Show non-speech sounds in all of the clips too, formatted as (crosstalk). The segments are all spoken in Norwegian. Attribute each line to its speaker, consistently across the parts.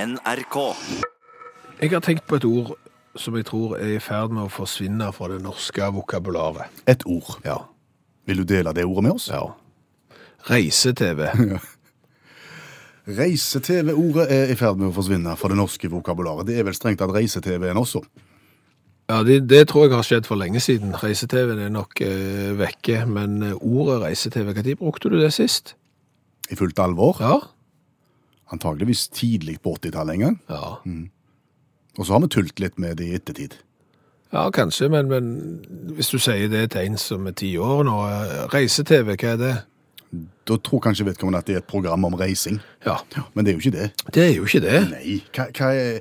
Speaker 1: NRK.
Speaker 2: Jeg har tenkt på et ord som jeg tror er i ferd med å forsvinne fra det norske vokabularet.
Speaker 3: Et ord.
Speaker 2: Ja.
Speaker 3: Vil du dele det ordet med oss?
Speaker 2: ja. Reise-TV.
Speaker 3: Reise-TV-ordet er i ferd med å forsvinne fra det norske vokabularet. Det er vel strengt tatt reise-TV-en også.
Speaker 2: Ja, det, det tror jeg har skjedd for lenge siden. Reise-TV-en er nok eh, vekke, men eh, ordet reise-TV, når brukte du det sist?
Speaker 3: I fullt alvor.
Speaker 2: Ja.
Speaker 3: Antageligvis tidlig på 80-tallet en gang.
Speaker 2: Ja,
Speaker 3: Og så har vi tult litt med det i ettertid.
Speaker 2: ja kanskje, men, men hvis du sier det til en som er ti år nå, eh, reise-TV, hva er det?
Speaker 3: Da tror kanskje vedkommende at det er et program om reising.
Speaker 2: Ja,
Speaker 3: Men det er jo ikke det.
Speaker 2: det er jo ikke det.
Speaker 3: Nei. Hva, hva, er,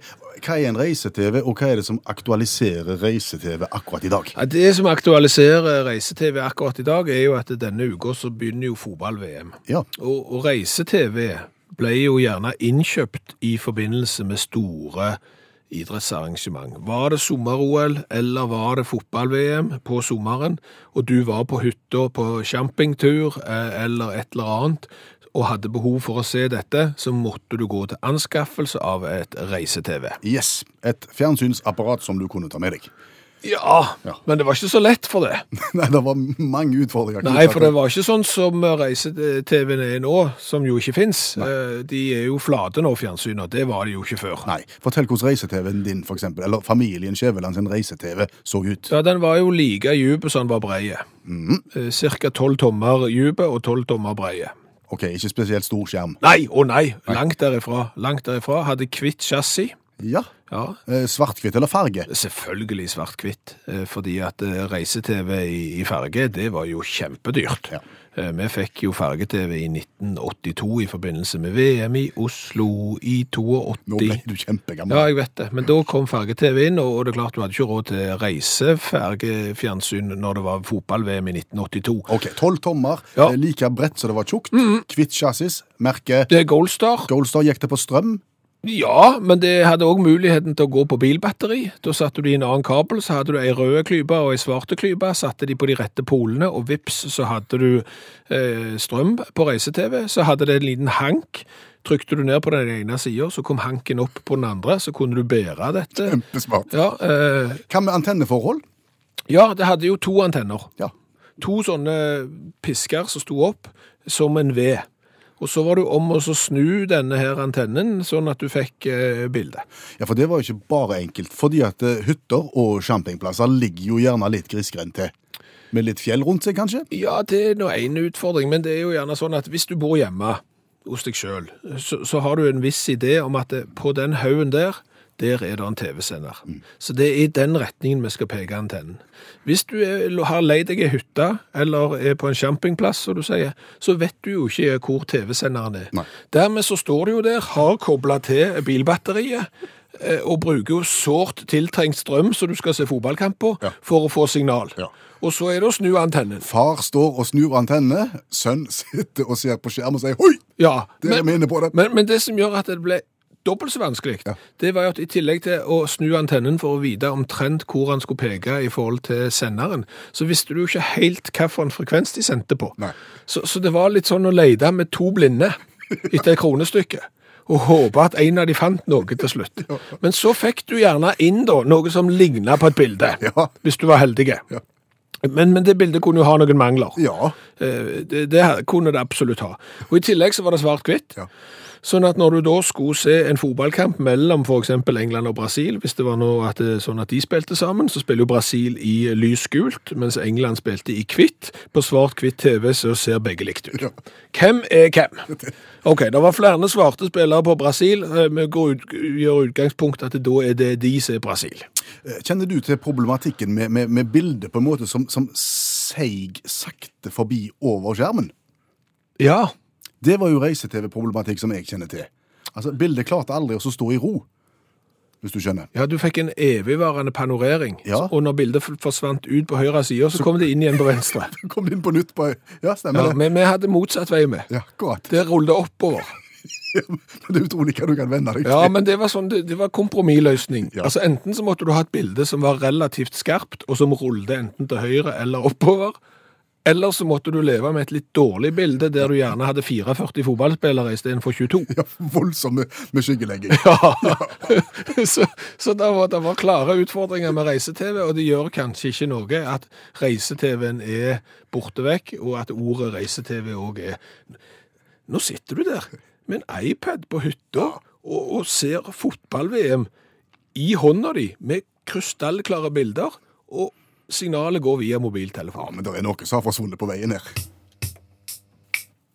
Speaker 3: hva er en reise-TV, og hva er det som aktualiserer reise-TV akkurat i dag?
Speaker 2: Ja, det som aktualiserer reise-TV akkurat i dag, er jo at denne uka så begynner jo fotball-VM.
Speaker 3: Ja.
Speaker 2: Og, og reise-TV ble jo gjerne innkjøpt i forbindelse med store idrettsarrangement. Var det sommer-OL, eller var det fotball-VM på sommeren, og du var på hytta på campingtur eh, eller et eller annet, og hadde behov for å se dette, så måtte du gå til anskaffelse av et reise-TV.
Speaker 3: Yes. Et fjernsynsapparat som du kunne ta med deg. (laughs)
Speaker 2: Ja,
Speaker 3: Ja.
Speaker 2: men det var ikke så lett for det.
Speaker 3: Nei, det var mange utfordringer.
Speaker 2: Nei, for det var ikke sånn som reise-TV-en er nå, som jo ikke fins. De er jo flate nå, fjernsynet. Det var de jo ikke før.
Speaker 3: Nei, fortell hvordan reise-TV-en din, for eksempel, eller familien Skjæveland sin reise-TV så ut.
Speaker 2: Ja, Den var jo like djup som den var breie.
Speaker 3: Mm.
Speaker 2: Eh, Cirka tolv tommer djupe og tolv tommer breie.
Speaker 3: Ok, ikke spesielt stor skjerm.
Speaker 2: Nei, å nei, langt derifra. Langt derifra. Hadde hvitt chassis.
Speaker 3: Ja.
Speaker 2: Ja,
Speaker 3: Eh, Svart-hvitt eller farge?
Speaker 2: selvfølgelig svart-hvitt, eh, fordi at eh, reise-TV i- i farge, det var jo kjempedyrt.
Speaker 3: Ja.
Speaker 2: Eh, Vi fikk jo farge-TV i 1982 i forbindelse med VM i Oslo i
Speaker 3: Nå ble
Speaker 2: 82.
Speaker 3: du kjempegammel.
Speaker 2: Ja, jeg vet det. Men da kom farge-TV inn, og det er klart du hadde ikke råd til reisefergefjernsyn når det var fotball-VM i 1982.
Speaker 3: Ok, tolv tommer,
Speaker 2: Ja.
Speaker 3: eh, like bredt så det var tjukt, hvitt chassis, merke
Speaker 2: Det er Goldstar.
Speaker 3: Goldstar gikk det på strøm.
Speaker 2: Ja, men det hadde òg muligheten til å gå på bilbatteri. Da satte du i en annen kabel, så hadde du ei rød klype og ei svarte klype, satte de på de rette polene, og vips, så hadde du eh, strøm på reise-TV. Så hadde det en liten hank. Trykte du ned på den ene sida, så kom hanken opp på den andre, så kunne du bære dette.
Speaker 3: Kjempesmart.
Speaker 2: Ja, eh,
Speaker 3: Hva med antenneforhold?
Speaker 2: ja, det hadde jo to antenner.
Speaker 3: Ja.
Speaker 2: To sånne pisker som sto opp som en V. Og så var det om å så snu denne her antennen, sånn at du fikk eh, bildet.
Speaker 3: ja, for det var jo ikke bare enkelt, fordi at eh, hytter og campingplasser ligger jo gjerne litt grisgrendt til. Med litt fjell rundt seg, kanskje?
Speaker 2: Ja, det er nå en utfordring, men det er jo gjerne sånn at hvis du bor hjemme hos deg sjøl, så, så har du en viss idé om at det, på den haugen der, der er det en TV-sender.
Speaker 3: Mm.
Speaker 2: Så det er i den retningen vi skal peke antennen. Hvis du er, har leid deg ei hytte eller er på en campingplass, som du sier, så vet du jo ikke hvor TV-senderen er.
Speaker 3: Nei.
Speaker 2: Dermed så står du jo der, har kobla til bilbatteriet. eh, Og bruker jo sårt tiltrengt strøm som du skal se fotballkamp på,
Speaker 3: Ja.
Speaker 2: for å få signal.
Speaker 3: Ja.
Speaker 2: Og så er det å snu antennen.
Speaker 3: Far står og snur antenne, sønn sitter og ser på skjerm og sier «Hoi,
Speaker 2: Ja,
Speaker 3: dere
Speaker 2: men,
Speaker 3: mener på det!»
Speaker 2: men, men det som gjør at det ble dobbelt så vanskelig, det var jo at i tillegg til å snu antennen for å vite omtrent hvor han skulle peke i forhold til senderen, så visste du jo ikke helt hvilken frekvens de sendte på.
Speaker 3: Nei.
Speaker 2: Så, så det var litt sånn å lete med to blinde etter et kronestykke. Og håpe at en av de fant noe til slutt. Men så fikk du gjerne inn da, noe som lignet på et bilde,
Speaker 3: Ja.
Speaker 2: hvis du var heldig. Men, men det bildet kunne jo ha noen mangler.
Speaker 3: Ja,
Speaker 2: Eh, Det, det her kunne det absolutt ha. Og I tillegg så var det svart-hvitt.
Speaker 3: Ja.
Speaker 2: Sånn at når du da skulle se en fotballkamp mellom f.eks. England og Brasil, hvis det var noe at, eh, sånn at de spilte sammen, så spiller jo Brasil i eh, lysgult, mens England spilte i hvitt. På svart-hvitt TV så ser begge likt ut. Hvem er hvem? Ok, (laughs) det var flere svarte spillere på Brasil. Eh, Vi går ut, gjør utgangspunkt at da er det de som er Brasil.
Speaker 3: Eh, Kjenner du til problematikken med, med, med bildet på en måte som, som seig sakte forbi over skjermen?
Speaker 2: Ja,
Speaker 3: Det var jo reise-TV-problematikk som jeg kjenner til. Altså, Bildet klarte aldri å stå i ro, hvis du skjønner.
Speaker 2: Ja, du fikk en evigvarende panorering,
Speaker 3: Ja.
Speaker 2: og når bildet f- forsvant ut på høyre side, så kom det inn igjen på venstre.
Speaker 3: Kom inn på nytt på Ja,
Speaker 2: Ja,
Speaker 3: stemmer det.
Speaker 2: men vi hadde motsatt vei med.
Speaker 3: Ja, akkurat.
Speaker 2: Det rullet oppover.
Speaker 3: (laughs) Men det er utrolig hva du kan vende deg til.
Speaker 2: Ja,
Speaker 3: (laughs)
Speaker 2: men det var sånn, det, det var kompromissløsning.
Speaker 3: Ja.
Speaker 2: Altså, enten så måtte du ha et bilde som var relativt skarpt, og som rullet enten til høyre eller oppover, Eller så måtte du leve med et litt dårlig bilde, der du gjerne hadde 44 fotballspillere istedenfor 22.
Speaker 3: Ja, voldsomt med, med skyggelegging.
Speaker 2: Ja. (laughs) så så det, var, det var klare utfordringer med reise-TV, og det gjør kanskje ikke noe at reise-TV-en er borte vekk, og at ordet reise-TV òg er Nå sitter du der med en iPad på hytta og, og ser fotball-VM i hånda di med krystallklare bilder, og signalet går via
Speaker 3: Ja,
Speaker 2: mobiltelefonen.
Speaker 3: men det er noe som har forsvunnet på veien her.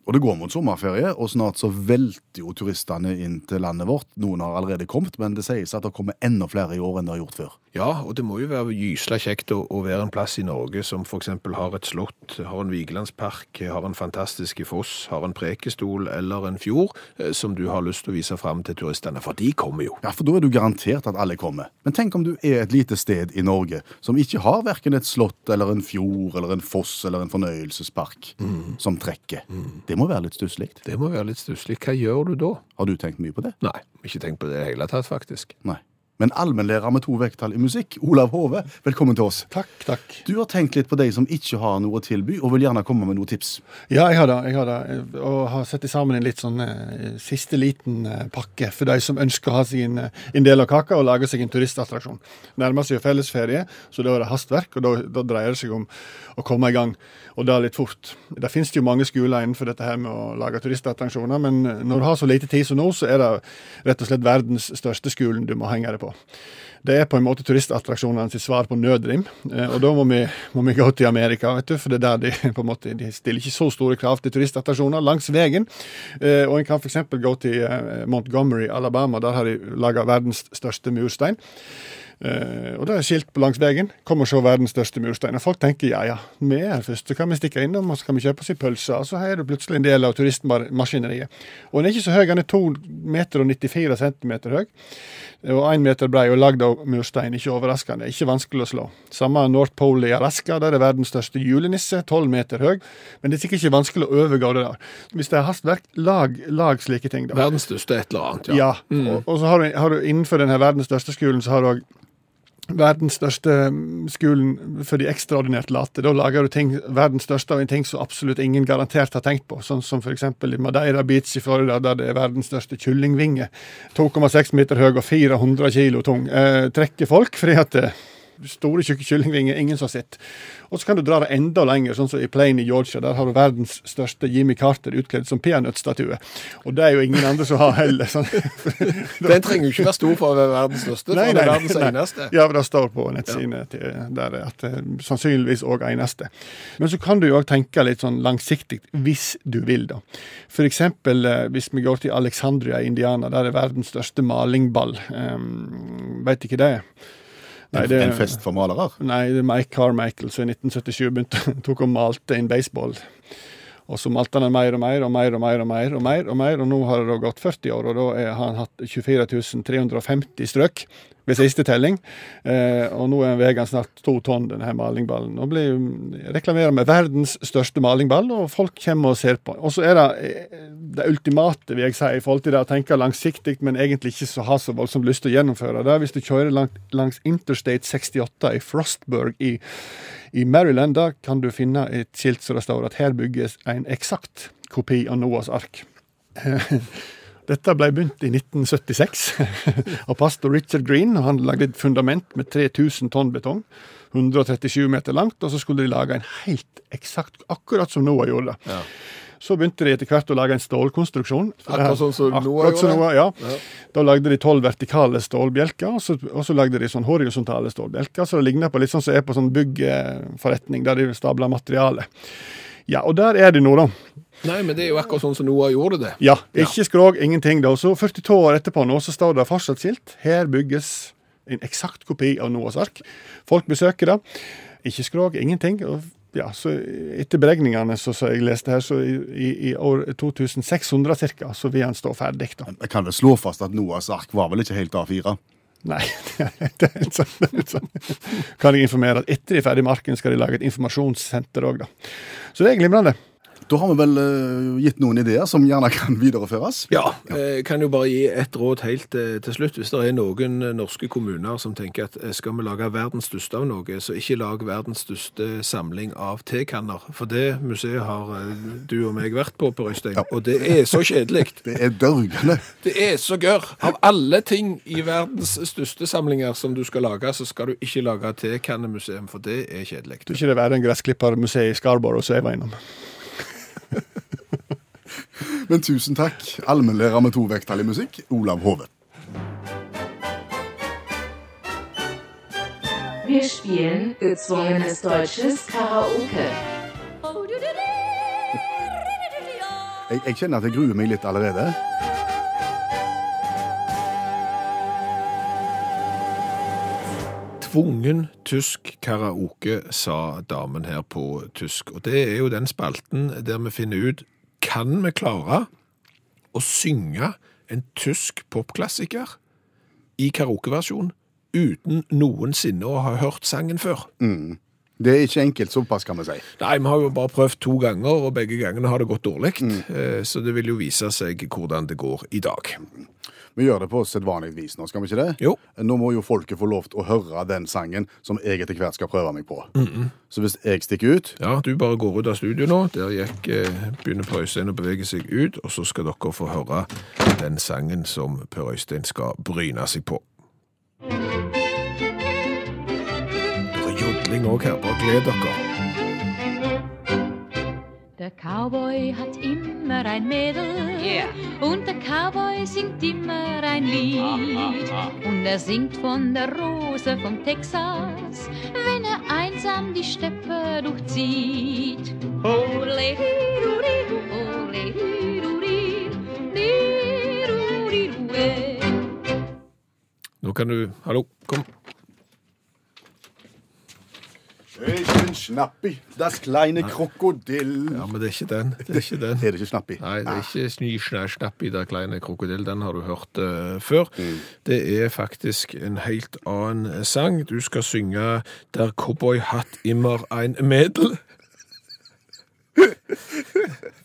Speaker 3: Og det går mot sommerferie, og snart så velter jo turistene inn til landet vårt. Noen har allerede kommet, men det sies at det kommer enda flere i år enn det har gjort før.
Speaker 2: Ja, og det må jo være gysla kjekt å, å være en plass i Norge som f.eks. har et slott, har en Vigelandspark, har en fantastisk foss, har en prekestol eller en fjord, eh, som du har lyst til å vise fram til turistene, for de kommer jo.
Speaker 3: Ja, for da er du garantert at alle kommer. Men tenk om du er et lite sted i Norge som ikke har verken et slott eller en fjord eller en foss eller en fornøyelsespark som trekker. Det må være litt stusslig.
Speaker 2: Det må være litt stusslig. Hva gjør du da?
Speaker 3: Har du tenkt mye på det?
Speaker 2: Nei, ikke tenk på det i det hele tatt, faktisk.
Speaker 3: Nei. Men allmennlærer med to vekttall i musikk, Olav Hove, velkommen til oss.
Speaker 1: Takk, takk.
Speaker 3: Du har tenkt litt på de som ikke har noe å tilby, og vil gjerne komme med noen tips.
Speaker 1: Ja, jeg har det. Jeg har det. Og har satt sammen en litt sånn eh, siste liten eh, pakke for de som ønsker å ha seg en, eh, en del av kaka og lage seg en turistattraksjon. Nærmer seg jo fellesferie, så da er det hastverk, og da, da dreier det seg om å komme i gang. Og det litt fort. Det finnes jo mange skoler innenfor dette her med å lage turistattraksjoner, men når du har så lite tid som nå, så er det rett og slett verdens største skolen du må henge deg på. Det er på en måte turistattraksjonene sitt svar på nødrim. eh, Og da må vi, må vi gå til Amerika, vet du, for det er der de (laughs) på en måte de stiller ikke så store krav til turistattraksjoner langs veien. Eh, Og en kan f.eks. gå til eh, Montgomery, Alabama. Der har de laga verdens største murstein. Eh, og det er skilt på langs veien. Kom og se verdens største murstein. Og folk tenker ja, ja, vi er her først, så kan vi stikke innom og så kan vi kjøpe oss en pølse. Og så er du plutselig en del av turistmaskineriet. Og den er ikke så høy, den er 2 meter og 94 centimeter høy. Eh, Og 1 meter brei og lagd av murstein. Ikke overraskende, ikke vanskelig å slå. Samme North Pole i Alaska, der er verdens største julenisse, 12 meter høy. Men det er sikkert ikke vanskelig å overgå det der. Hvis det er hastverk, lag, lag slike ting, da.
Speaker 2: Verdens største et eller annet,
Speaker 1: Ja,
Speaker 2: ja.
Speaker 1: og, og så har du, har du innenfor denne verdens største skolen, så har du òg verdens største mm, skolen for de ekstraordinært late. Da lager du ting, verdens største av en ting som absolutt ingen garantert har tenkt på, sånn som f.eks. i Madeira Beach i Florida, der det er verdens største kyllingvinge. 2,6 meter høy og 400 kilo tung. Eh, trekker folk fordi at eh, store, tjukke kyllingvinger ingen som har sett. Og så kan du dra det enda lenger, sånn som i Plain i Georgia. Der har du verdens største Jimmy Carter utkledd som peanøttstatue. Og det er jo ingen andre som har heller. Sånn.
Speaker 2: (laughs) Den trenger jo ikke være stor for å være verdens største, for
Speaker 1: Nei,
Speaker 2: den er
Speaker 1: nei,
Speaker 2: verdens
Speaker 1: nei.
Speaker 2: eneste.
Speaker 1: Ja, for det står på nettsidene til- der at eh, sannsynligvis òg eneste. Men så kan du jo òg tenke litt sånn langsiktig, hvis du vil, da. For eksempel eh, hvis vi går til Alexandria i Indiana, der er verdens største malingball. Um, Veit ikke det. Nei, det-
Speaker 3: En fest for malere.
Speaker 1: Nei, det er Mike Carmichael som i 1977 begynte, (laughs) tok og malte inn baseball. Og så malte han den mer og mer og mer og mer og mer, og mer, og mer, og nå har det da gått 40 år, og da er- har han hatt 24 350 strøk ved siste telling. Eh, og nå er veier han snart to tonn, denne her malingballen. Og blir reklamerer med verdens største malingball, og folk kommer og ser på. Og så er det eh, det ultimate, vil jeg si, i forhold til det å tenke langsiktig, men egentlig ikke så ha så voldsomt lyst til å gjennomføre det, er hvis du kjører langt, langs Interstate 68 i Frostburg i i Maryland da kan du finne et skilt som det står at her bygges en eksakt kopi av Noas ark. Dette ble begynt i
Speaker 2: (laughs)
Speaker 1: 1976 av pastor Richard Green. og Han lagde et fundament med 3000 tonn betong, 137 meter langt, og så skulle de lage en helt eksakt, akkurat som Noah gjorde.
Speaker 2: Ja.
Speaker 1: Så begynte de etter hvert å lage en stålkonstruksjon. For det her-
Speaker 2: Akkurat sånn som Noah
Speaker 1: akkurat som
Speaker 2: gjorde.
Speaker 1: Noah, ja.
Speaker 2: Ja.
Speaker 1: Da lagde de tolv vertikale stålbjelker, og så, og så lagde de sånn horisontale stålbjelker. Så det ligner på litt sånn som er på sånn byggforretning, der de stabler materiale. Ja, og der er de nå, da.
Speaker 2: Nei, men det er jo akkurat sånn som Noah gjorde det.
Speaker 1: Ja, ikke skrog, ingenting da. Så 42 år etterpå nå, så står det fortsatt skilt. Her bygges en eksakt kopi av Noas ark. Folk besøker det. Ikke skrog, ingenting. Og ja, så etter beregningene så, så jeg leste her, så i, i, i år 2600 cirka, så vil han stå ferdig da.
Speaker 3: Jeg kan vel slå fast at Noas ark var vel ikke helt A4?
Speaker 1: Nei, (laughs) det er helt sant. Det er sånn. helt sant. Kan jeg informere at etter de er ferdig med arken, skal de lage et informasjonssenter òg, da. Så det er glimrende.
Speaker 3: Da har vi vel eh, gitt noen ideer som gjerne kan videreføres.
Speaker 2: Ja, jeg Eh, kan jo bare gi et råd helt eh, til slutt. Hvis det er noen eh, norske kommuner som tenker at eh, skal vi lage verdens største av noe, så ikke lag verdens største samling av tekanner. For det museet har eh, du og meg vært på på Røystein,
Speaker 3: Ja.
Speaker 2: og det er så kjedelig.
Speaker 3: Det er dørgende.
Speaker 2: Det er så gørr. Av alle ting i verdens største samlinger som du skal lage, så skal du ikke lage tekannemuseum, for det er kjedelig.
Speaker 1: Tror ikke det var en gressklippermuseet i Scarborough som jeg var innom.
Speaker 3: Men tusen takk, allmennlærer med to vekttall i musikk, Olav Hove.
Speaker 4: Wir spielen gezwungenes deutsches Karaoke.
Speaker 3: Jeg, jeg kjenner at jeg gruer meg litt allerede.
Speaker 2: Tvungen tysk karaoke, sa damen her på tysk. Og det er jo den spalten der vi finner ut kan vi klare å synge en tysk popklassiker i karaokeversjon uten noensinne å ha hørt sangen før.
Speaker 3: Det er ikke enkelt, såpass kan vi si.
Speaker 2: Nei, vi har jo bare prøvd to ganger, og begge gangene har det gått dårlig. Eh, Så det vil jo vise seg hvordan det går i dag.
Speaker 3: Vi gjør det på sedvanlig vis nå, skal vi ikke det?
Speaker 2: Jo.
Speaker 3: Nå må jo folket få lov til å høre den sangen som jeg etter hvert skal prøve meg på. Så hvis jeg stikker ut
Speaker 2: Ja, du bare går ut av studio nå. Der gikk, eh, begynner Per Øystein å bevege seg ut, og så skal dere få høre den sangen som Per Øystein skal bryne seg på. Det er jodling òg her. Bare gled dere.
Speaker 5: Der Cowboy hat immer ein Mädel
Speaker 6: Yeah.
Speaker 5: und der Cowboy singt immer ein Lied. Und er singt von der Rose von Texas, wenn er einsam die Steppe durchzieht. Ole, rudi, du, ole, rudi, di, rudi, du, eh.
Speaker 2: Nå kan du Hallo, kom.
Speaker 3: Schön schnappi, das kleine krokodill.
Speaker 2: Ja, men det er ikke den. Det er (laughs) ikke den.
Speaker 3: Er det ikke snappi?
Speaker 2: Nei, det er ikke sny, snæ, snapp i der kleine krokodill. Den har du hørt eh, før. Det er faktisk en helt annen eh, sang. Du skal synge Der cowboy hatt immer ein medel. (laughs)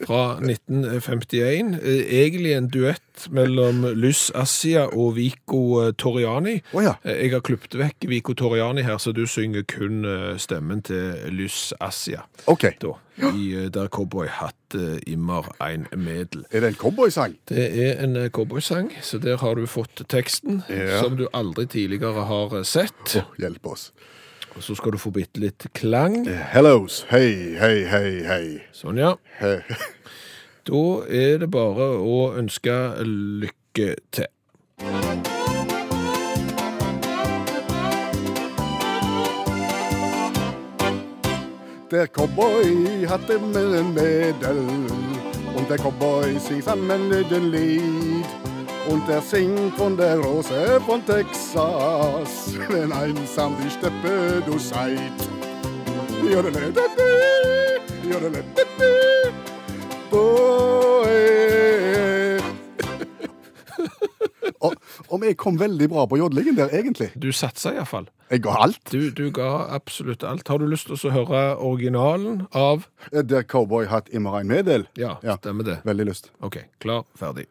Speaker 2: Fra 1951. Eh, Egentlig en duett mellom Lys Assia og Vico eh, Torriani.
Speaker 3: Å ja.
Speaker 2: Eh, Jeg har klippet vekk Vico Torriani her, så du synger kun eh, stemmen til Lys Assia
Speaker 3: OK.
Speaker 2: da, i eh, Der cowboy hatt eh, immer ein medel.
Speaker 3: Er det en cowboysang?
Speaker 2: Det er en eh, cowboysang, så der har du fått teksten,
Speaker 3: Ja.
Speaker 2: som du aldri tidligere har eh, sett.
Speaker 3: Hjelp oss.
Speaker 2: Og så skal du få bitte litt klang.
Speaker 3: Hellos, hei, hei, hei, hei.
Speaker 2: Sånn, ja.
Speaker 3: He-
Speaker 2: Da er det bare å ønske lykke til.
Speaker 3: Der cowboy hatt immer en medel. Und der cowboy sing sammen den lied. Und der singt von der Rose von Texas. Wenn einsam die Steppe du seid. Jodelelelele, jodelelelele, boy. (laughs) Og, og vi kom veldig bra på jodlingen der, egentlig.
Speaker 2: Du satsa iallfall.
Speaker 3: Jeg ga alt.
Speaker 2: Du, du ga absolutt alt. Har du lyst til å høre originalen av
Speaker 3: Der cowboy hatt immer en medel.
Speaker 2: Ja,
Speaker 3: Ja.
Speaker 2: stemmer det.
Speaker 3: Veldig lyst.
Speaker 2: OK, klar, ferdig.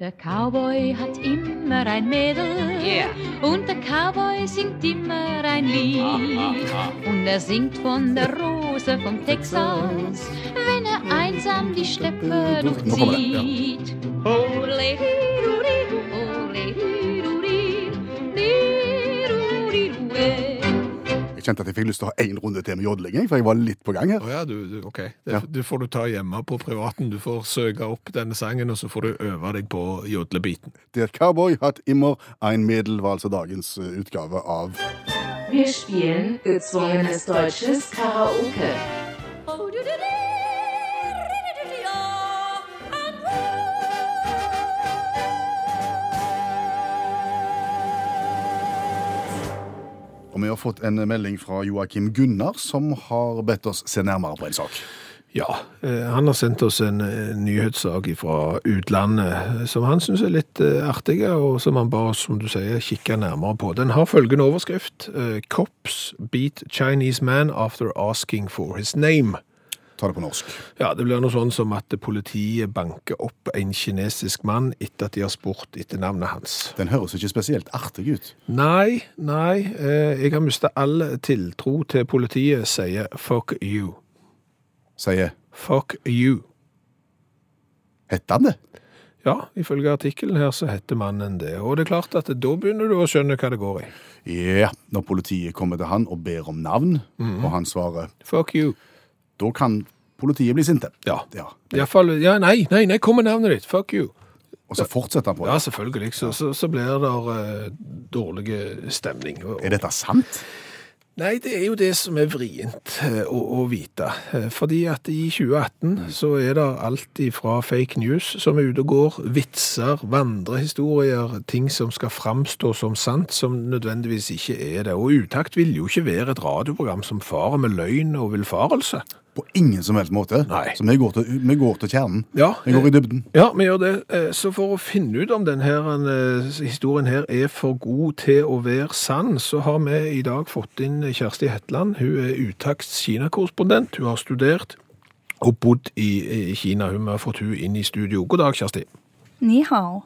Speaker 5: Der Cowboy hat immer ein Mädel
Speaker 6: Yeah.
Speaker 5: und der Cowboy singt immer ein Lied. Und er singt von der Rose von Texas, wenn er einsam die Steppe
Speaker 3: Noch einmal, ja.
Speaker 5: durchzieht. Ole, rudi, du, ole, rudi, di, rudi, du, eh.
Speaker 3: Jeg kjente at jeg fikk lyst til å ha én runde til med jodling, jeg, for jeg var litt på gang her.
Speaker 2: Å ja, du, du, ok. Det,
Speaker 3: Ja.
Speaker 2: det får du ta hjemme på privaten. Du får søke opp denne sangen, og så får du øve deg på jodlebiten.
Speaker 3: Der cowboy hatt immer ein medel var altså dagens eh, utgave av
Speaker 4: Wir spielen gezwungenes deutsches Karaoke.
Speaker 3: Og vi har fått en melding fra Joakim Gunnar, som har bedt oss se nærmere på en sak.
Speaker 2: Ja, eh, han har sendt oss en eh, nyhetssak fra utlandet eh, som han syns er litt eh, artig, og som han ba oss, som du sier, kikke nærmere på. Den har følgende overskrift. eh, Cops beat Chinese man after asking for his name.
Speaker 3: Ta det på norsk.
Speaker 2: Ja, det blir noe sånn som at politiet banker opp en kinesisk mann etter at de har spurt etter navnet hans.
Speaker 3: Den høres ikke spesielt artig ut.
Speaker 2: Nei, nei, eh, jeg har mista all tiltro til politiet, sier fuck you.
Speaker 3: Sier
Speaker 2: Fuck you.
Speaker 3: Hette han det?
Speaker 2: Ja, ifølge artikkelen her så heter mannen det. Og det er klart at da begynner du å skjønne hva det går i.
Speaker 3: Ja. Når politiet kommer til han og ber om navn,
Speaker 2: Mhm.
Speaker 3: og han svarer
Speaker 2: Fuck you.
Speaker 3: Da kan politiet bli sinte.
Speaker 2: Ja.
Speaker 3: ja.
Speaker 2: Iallfall Ja, nei, nei, nei, kom med navnet ditt. Fuck you.
Speaker 3: Og så fortsetter han på
Speaker 2: Ja,
Speaker 3: det.
Speaker 2: selvfølgelig. Så, så, så blir det eh, dårlig stemning. Og,
Speaker 3: Er dette sant?
Speaker 2: Nei, det er jo det som er vrient eh, å, å vite. Eh, Fordi at i 2018 så er det alltid fra fake news som er ute og går, vitser, vandrehistorier, ting som skal framstå som sant, som nødvendigvis ikke er det. Og Utakt vil jo ikke være et radioprogram som farer med løgn og villfarelse.
Speaker 3: På ingen som helst måte.
Speaker 2: Nei. Eh.
Speaker 3: Så vi går til, vi går til kjernen.
Speaker 2: Ja,
Speaker 3: Vi går i dybden.
Speaker 2: Ja, vi gjør det. Eh, Så for å finne ut om denne historien her er for god til å være sann, så har vi i dag fått inn Kjersti Hetland. Hun er utakts Kina-korrespondent. Hun har studert og bodd i i Kina. Hun har fått hun inn i studio. God dag, Kjersti.
Speaker 6: 你好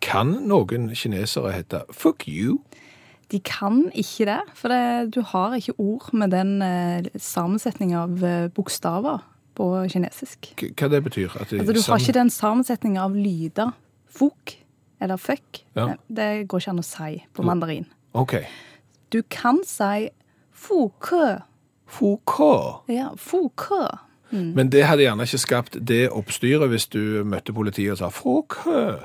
Speaker 2: Kan noen kinesere hete fuck you?
Speaker 6: De kan ikke det, for det, du har ikke ord med den eh, sammensetninga av eh, bokstaver på kinesisk.
Speaker 2: K hva det betyr? At det
Speaker 6: Altså, du har ikke den sammensetninga av lyder. Fuk eller fuck.
Speaker 2: Ja.
Speaker 6: Nei, Det går ikke an å si på mandarin.
Speaker 2: OK.
Speaker 6: Du kan si fu kø.
Speaker 2: Fu ka.
Speaker 6: Ja, fu kø. (laughs) Mm.
Speaker 2: Men det hadde gjerne ikke skapt det oppstyret hvis du møtte politiet og sa fu ka.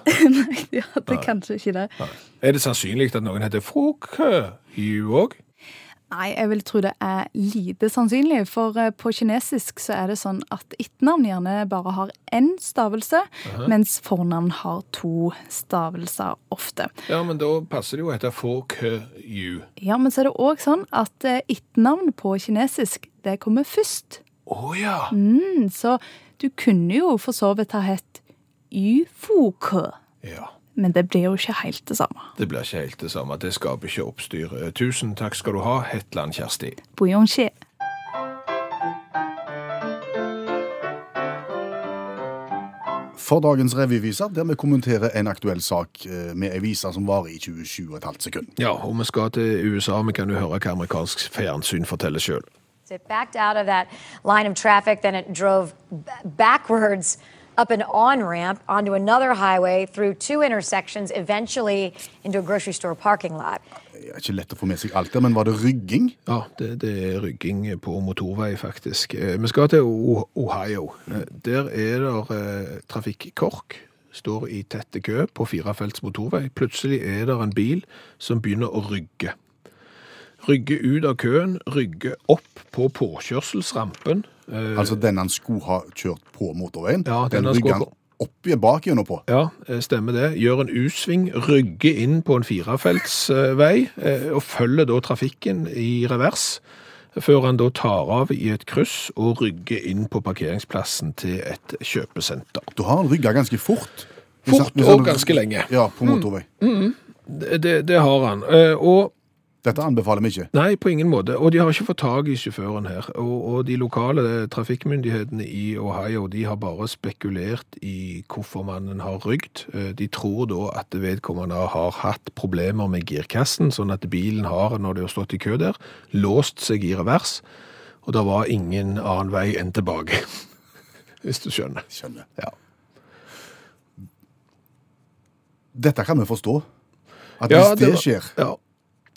Speaker 6: Ja, det er kanskje ikke det.
Speaker 2: Er det sannsynlig at noen heter Frokø òg?
Speaker 6: Nei, jeg vil tro det er lite sannsynlig, for eh, på kinesisk så er det sånn at etternavn gjerne bare har én stavelse, mens fornavn har to stavelser ofte.
Speaker 2: Ja, men da passer det jo å hete Frokø-ju.
Speaker 6: Ja, men så er det òg sånn at eh, etternavn på kinesisk, det kommer først.
Speaker 2: Å ja.
Speaker 6: Mm, så du kunne jo for så vidt ha hett Yu Fu Ke,
Speaker 2: ja.
Speaker 6: men det blir jo ikke helt det samme.
Speaker 2: Det blir ikke helt det samme. Det skaper ikke oppstyr. Eh, Tusen takk skal du ha, Hetland Kjersti.
Speaker 6: Bouillon-skje.
Speaker 3: For dagens revyviser, der vi kommenterer en aktuell sak eh, med ei vise som varer i 27,5 sekunder.
Speaker 2: Ja, og vi skal til USA. Vi kan jo høre hva amerikansk fjernsyn forteller sjøl.
Speaker 7: It backed out of that line of traffic, then it drove b- backwards up an on ramp onto another highway through two intersections, eventually into a grocery store parking lot.
Speaker 3: Det er ikke lett å få med seg alt det, men var det rygging?
Speaker 2: Ja, det, det er rygging på motorvei, faktisk. Eh, Vi skal til O- Ohio. Eh, Der er det eh, trafikkork. Står i tette kø på firefelts motorvei. Plutselig er det en bil som begynner å rygge. Rygge ut av køen, rygge opp på påkjørselsrampen. Eh,
Speaker 3: Altså den han skulle ha kjørt på motorveien?
Speaker 2: Ja, den
Speaker 3: den
Speaker 2: han skulle
Speaker 3: rygger han
Speaker 2: på.
Speaker 3: opp i- bak gjennom på?
Speaker 2: Ja, eh, stemmer det. Gjør en U-sving, rygger inn på en firefeltsvei eh, og følger da trafikken i revers. Før han da tar av i et kryss og rygger inn på parkeringsplassen til et kjøpesenter.
Speaker 3: Da har han rygga ganske fort. Hvis
Speaker 2: Fort
Speaker 3: han- hvis han-
Speaker 2: og ganske lenge. Mm.
Speaker 3: Ja, på motorvei.
Speaker 2: Det, det, det har han. Eh, Og
Speaker 3: Dette anbefaler vi ikke.
Speaker 2: Nei, på ingen måte. Og de har ikke fått tak i sjåføren her. Og, og de lokale trafikkmyndighetene i Ohio de har bare spekulert i hvorfor mannen har rygd. Eh, De tror da at vedkommende har hatt problemer med girkassen, sånn at bilen har, når de har stått i kø der, låst seg i revers. Og det var ingen annen vei enn tilbake. (laughs) Hvis du skjønner.
Speaker 3: Skjønner.
Speaker 2: Ja.
Speaker 3: Dette kan vi forstå. At
Speaker 2: Ja,
Speaker 3: hvis det,
Speaker 2: var-
Speaker 3: skjer
Speaker 2: Ja.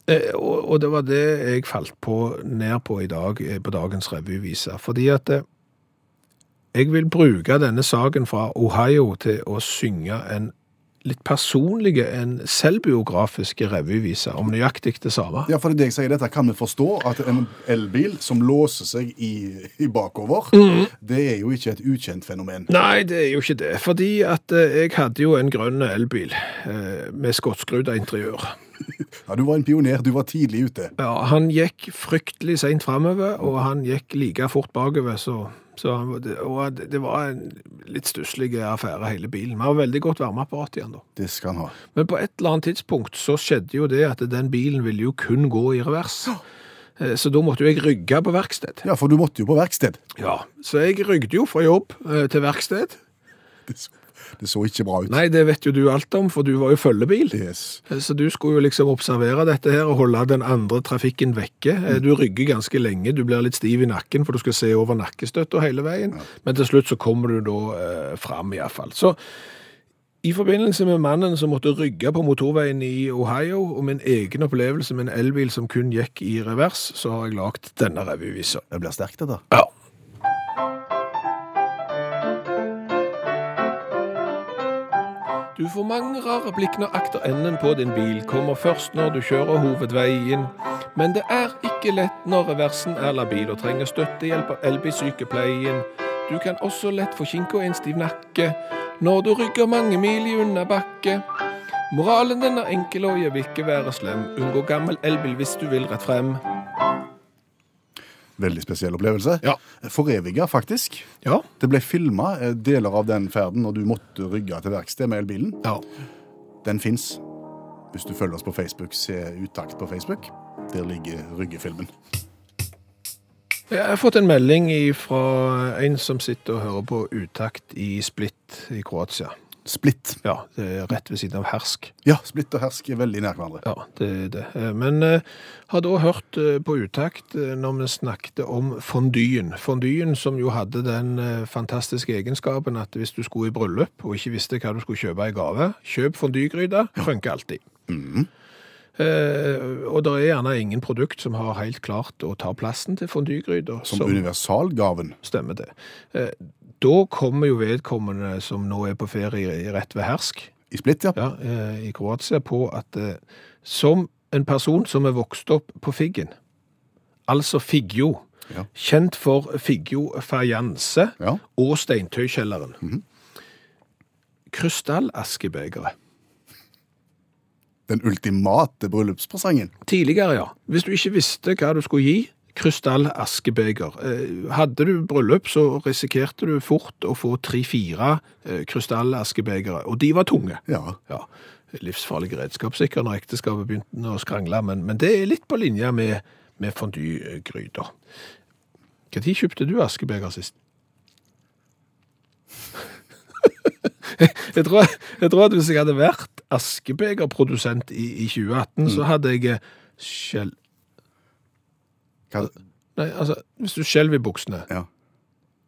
Speaker 2: Eh, Og, og det var det jeg falt på ned på i dag eh, på dagens revyvise. Fordi at eh, jeg vil bruke denne saken fra Ohio til å synge en litt personlige, en selvbiografiske revyvise om nøyaktig det samme.
Speaker 3: Ja, for det er det jeg sier, dette kan vi forstå, at en elbil som låser seg i, i bakover,
Speaker 2: Mhm.
Speaker 3: det er jo ikke et ukjent fenomen.
Speaker 2: Nei, det er jo ikke det. Fordi at eh, jeg hadde jo en grønn elbil eh, med skottskrudd interiør.
Speaker 3: Ja, Du var en pioner, du var tidlig ute.
Speaker 2: Ja, han gikk fryktelig seint framover, og han gikk like fort bakover, så Så han, var- det- og det det var en litt stusslig affære, hele bilen. Vi har veldig godt varmeapparat igjen, da.
Speaker 3: Det skal han ha.
Speaker 2: Men på et eller annet tidspunkt så skjedde jo det at den bilen ville jo kun gå i revers. Eh, Så da måtte jo jeg rygge på verksted.
Speaker 3: Ja, for du måtte jo på verksted.
Speaker 2: Ja, Så jeg rygget jo fra jobb eh, til verksted.
Speaker 3: Det så, det så ikke bra ut.
Speaker 2: Nei, det vet jo du alt om, for du var jo følgebil.
Speaker 3: Yes.
Speaker 2: Eh, Så du skulle jo liksom observere dette her og holde den andre trafikken vekke. Eh, Du rygger ganske lenge, du blir litt stiv i nakken, for du skal se over nakkestøtta hele veien. Men til slutt så kommer du da eh, fram iallfall. Så i forbindelse med mannen som måtte rygge på motorveien i Ohio, og min egen opplevelse med en elbil som kun gikk i revers, så har jeg lagd denne revyvisa.
Speaker 3: Det blir sterkt, dette.
Speaker 2: Ja. Du får mange rare blikk når akterenden på din bil kommer først når du kjører hovedveien. Men det er ikke lett når reversen er labil og trenger støttehjelp av elbilsykepleien. Du kan også lett få kinke og en stiv nakke når du rygger mange mil i underbakke. Moralen den er enkel, og jeg vil ikke være slem. Unngå gammel elbil hvis du vil rett frem.
Speaker 3: Veldig spesiell opplevelse.
Speaker 2: Ja.
Speaker 3: Foreviga, faktisk.
Speaker 2: Ja.
Speaker 3: Det ble filma deler av den ferden når du måtte rygge til verksted med elbilen.
Speaker 2: ja.
Speaker 3: Den fins. Hvis du følger oss på Facebook, se Utakt på Facebook. Der ligger ryggefilmen.
Speaker 2: Jeg har fått en melding fra en som sitter og hører på utakt i Split i Kroatia.
Speaker 3: Splitt.
Speaker 2: Ja, det er rett ved siden av Hersk.
Speaker 3: Ja, Splitt og hersk er veldig nær hverandre.
Speaker 2: Ja, det er det. Eh, Men eh, har da hørt eh, på utakt eh, når vi snakket om fondyen. Fondyen som jo hadde den eh, fantastiske egenskapen at hvis du skulle i bryllup og ikke visste hva du skulle kjøpe i gave, kjøp fondygryte, funker alltid. Eh, og det er gjerne ingen produkt som har helt klart å ta plassen til fondygryta.
Speaker 3: Som universalgaven.
Speaker 2: Stemmer det. Eh, Da kommer jo vedkommende som nå er på ferie i- rett ved hersk
Speaker 3: I Splitt, ja.
Speaker 2: ja, eh, i Kroatia, på at eh, som en person som er vokst opp på Figgen, altså Figgjo,
Speaker 3: Ja.
Speaker 2: kjent for Figgjo Fajanse
Speaker 3: Ja. Mhm.
Speaker 2: og Steintøykjelleren, krystallaskebegeret.
Speaker 3: Den ultimate bryllupspresangen.
Speaker 2: Tidligere, ja. Hvis du ikke visste hva du skulle gi, krystallaskebøker. Hadde du bryllup, så risikerte du fort å få tre-fire krystallaskebegere, og de var tunge.
Speaker 3: Ja.
Speaker 2: Ja, livsfarlige redskap sikkert når ekteskapet begynte å skrangle, men, men det er litt på linje med, med fondygryter. Hva tid kjøpte du askebeger sist? (laughs) jeg, tror, jeg tror at hvis jeg hadde vært askebegerprodusent i, i 2018, så hadde jeg eh, skjel...
Speaker 3: Hva,
Speaker 2: Nei, altså, hvis du skjelver i buksene.
Speaker 3: ja.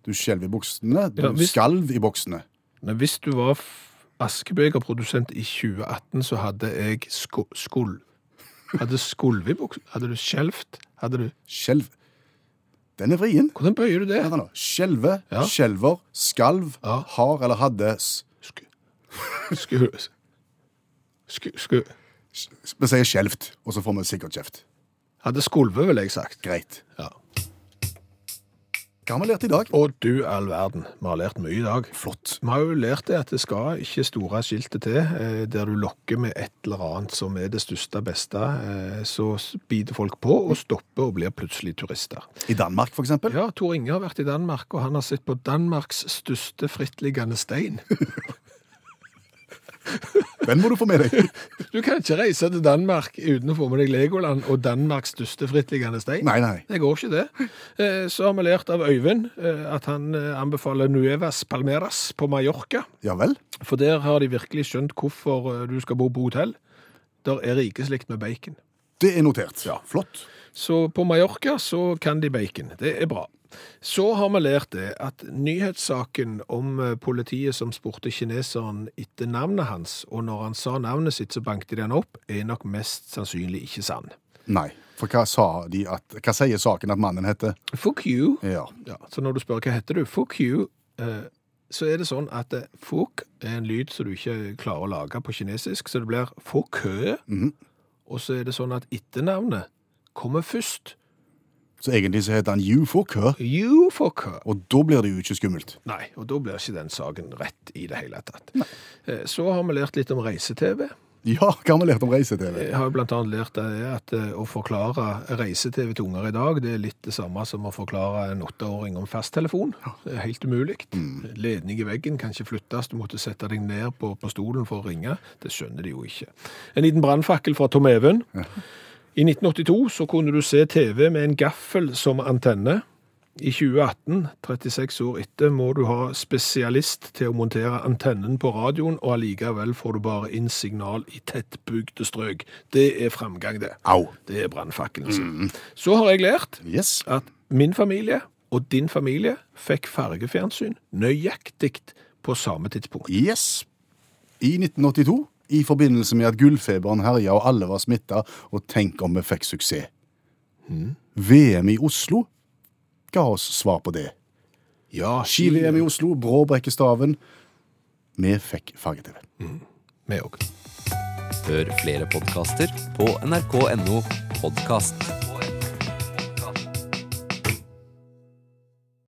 Speaker 3: Du skjelv i buksene. Du
Speaker 2: Ja, hvis-
Speaker 3: skalv i buksene.
Speaker 2: Nei, hvis du var f- askebegerprodusent i 2018, så hadde jeg sko skol... Hadde skolv i buksene? Hadde du skjelvt? Hadde du...
Speaker 3: Skjelv Den er vrien.
Speaker 2: Hvordan bøyer du det?
Speaker 3: Vent nå. Skjelve,
Speaker 2: Ja.
Speaker 3: skjelver, skalv,
Speaker 2: Ja.
Speaker 3: har eller hadde s-
Speaker 2: Sku... Sku... Sku... sku.
Speaker 3: Vi sier skjelvt, og så får vi sikkert kjeft.
Speaker 2: Hadde skolve, vil jeg sagt.
Speaker 3: Greit.
Speaker 2: Ja.
Speaker 3: Hva har vi lært i dag?
Speaker 2: Og du all verden, vi har lært mye i dag.
Speaker 3: Flott.
Speaker 2: Vi har jo lært det at det skal ikke store skiltet til, eh, der du lokker med et eller annet som er det største beste, eh, så s- biter folk på og stopper og blir plutselig turister.
Speaker 3: I Danmark, for eksempel.
Speaker 2: Ja, Tor Inge har vært i Danmark, og han har sett på Danmarks største frittliggende stein. (laughs)
Speaker 3: Den må du få med deg.
Speaker 2: Du kan ikke reise til Danmark uten å få med deg Legoland og Danmarks største frittliggende stein.
Speaker 3: Nei, nei.
Speaker 2: Det går ikke, det. Eh, Så har vi lært av Øyvind eh, at han eh, anbefaler Nuevas Palmeras på Mallorca.
Speaker 3: Ja vel?
Speaker 2: For der har de virkelig skjønt hvorfor eh, du skal bo på hotell. Der er det ikke slikt med bacon.
Speaker 3: Det er notert. Flott.
Speaker 2: Så på Mallorca så kan de bacon. Det er bra. Så har vi lært det at nyhetssaken om eh, politiet som spurte kineseren etter navnet hans, og når han sa navnet sitt, så banket de han opp, er nok mest sannsynlig ikke sann.
Speaker 3: Nei. For hva sa de at Hva sier saken at mannen heter?
Speaker 2: Fuck you.
Speaker 3: Ja.
Speaker 2: Ja, så når du spør hva heter du, fuck you, eh, så er det sånn at eh, fuck er en lyd som du ikke klarer å lage på kinesisk, så det blir fuck hø. Og så er det sånn at etternavnet kommer først.
Speaker 3: Så egentlig så heter han You Fuck Her,
Speaker 2: You fuck hø.
Speaker 3: og da blir det jo ikke skummelt.
Speaker 2: Nei, og da blir ikke den saken rett i det hele tatt. Eh, Så har vi lært litt om reise-TV.
Speaker 3: Ja, hva har vi lært om reise-TV?
Speaker 2: Jeg har jo blant annet lært det at eh, å forklare reise-TV til unger i dag, det er litt det samme som å forklare en åtteåring om fasttelefon. Det er helt umulig. Ledning i veggen kan ikke flyttes, du måtte sette deg ned på, på stolen for å ringe. Det skjønner de jo ikke. En liten brannfakkel fra Tom Even. I 1982 så kunne du se TV med en gaffel som antenne. I 2018, 36 år etter, må du ha spesialist til å montere antennen på radioen, og allikevel får du bare inn signal i tettbygde strøk. Det er framgang, det.
Speaker 3: Au.
Speaker 2: Det er brannfakkelen sin. Så har jeg lært
Speaker 3: Yes.
Speaker 2: at min familie og din familie fikk fargefjernsyn nøyaktig på samme tidspunkt.
Speaker 3: Yes. I 1982, i forbindelse med at gullfeberen herja og alle var smitta, og tenk om vi fikk suksess. Hmm? VM i Oslo ga oss svar på det.
Speaker 2: Ja,
Speaker 3: Ski-VM i Oslo, Brå brekker staven. Vi fikk farge-TV.
Speaker 2: Vi òg.
Speaker 8: Hør flere podkaster på nrk.no podkast.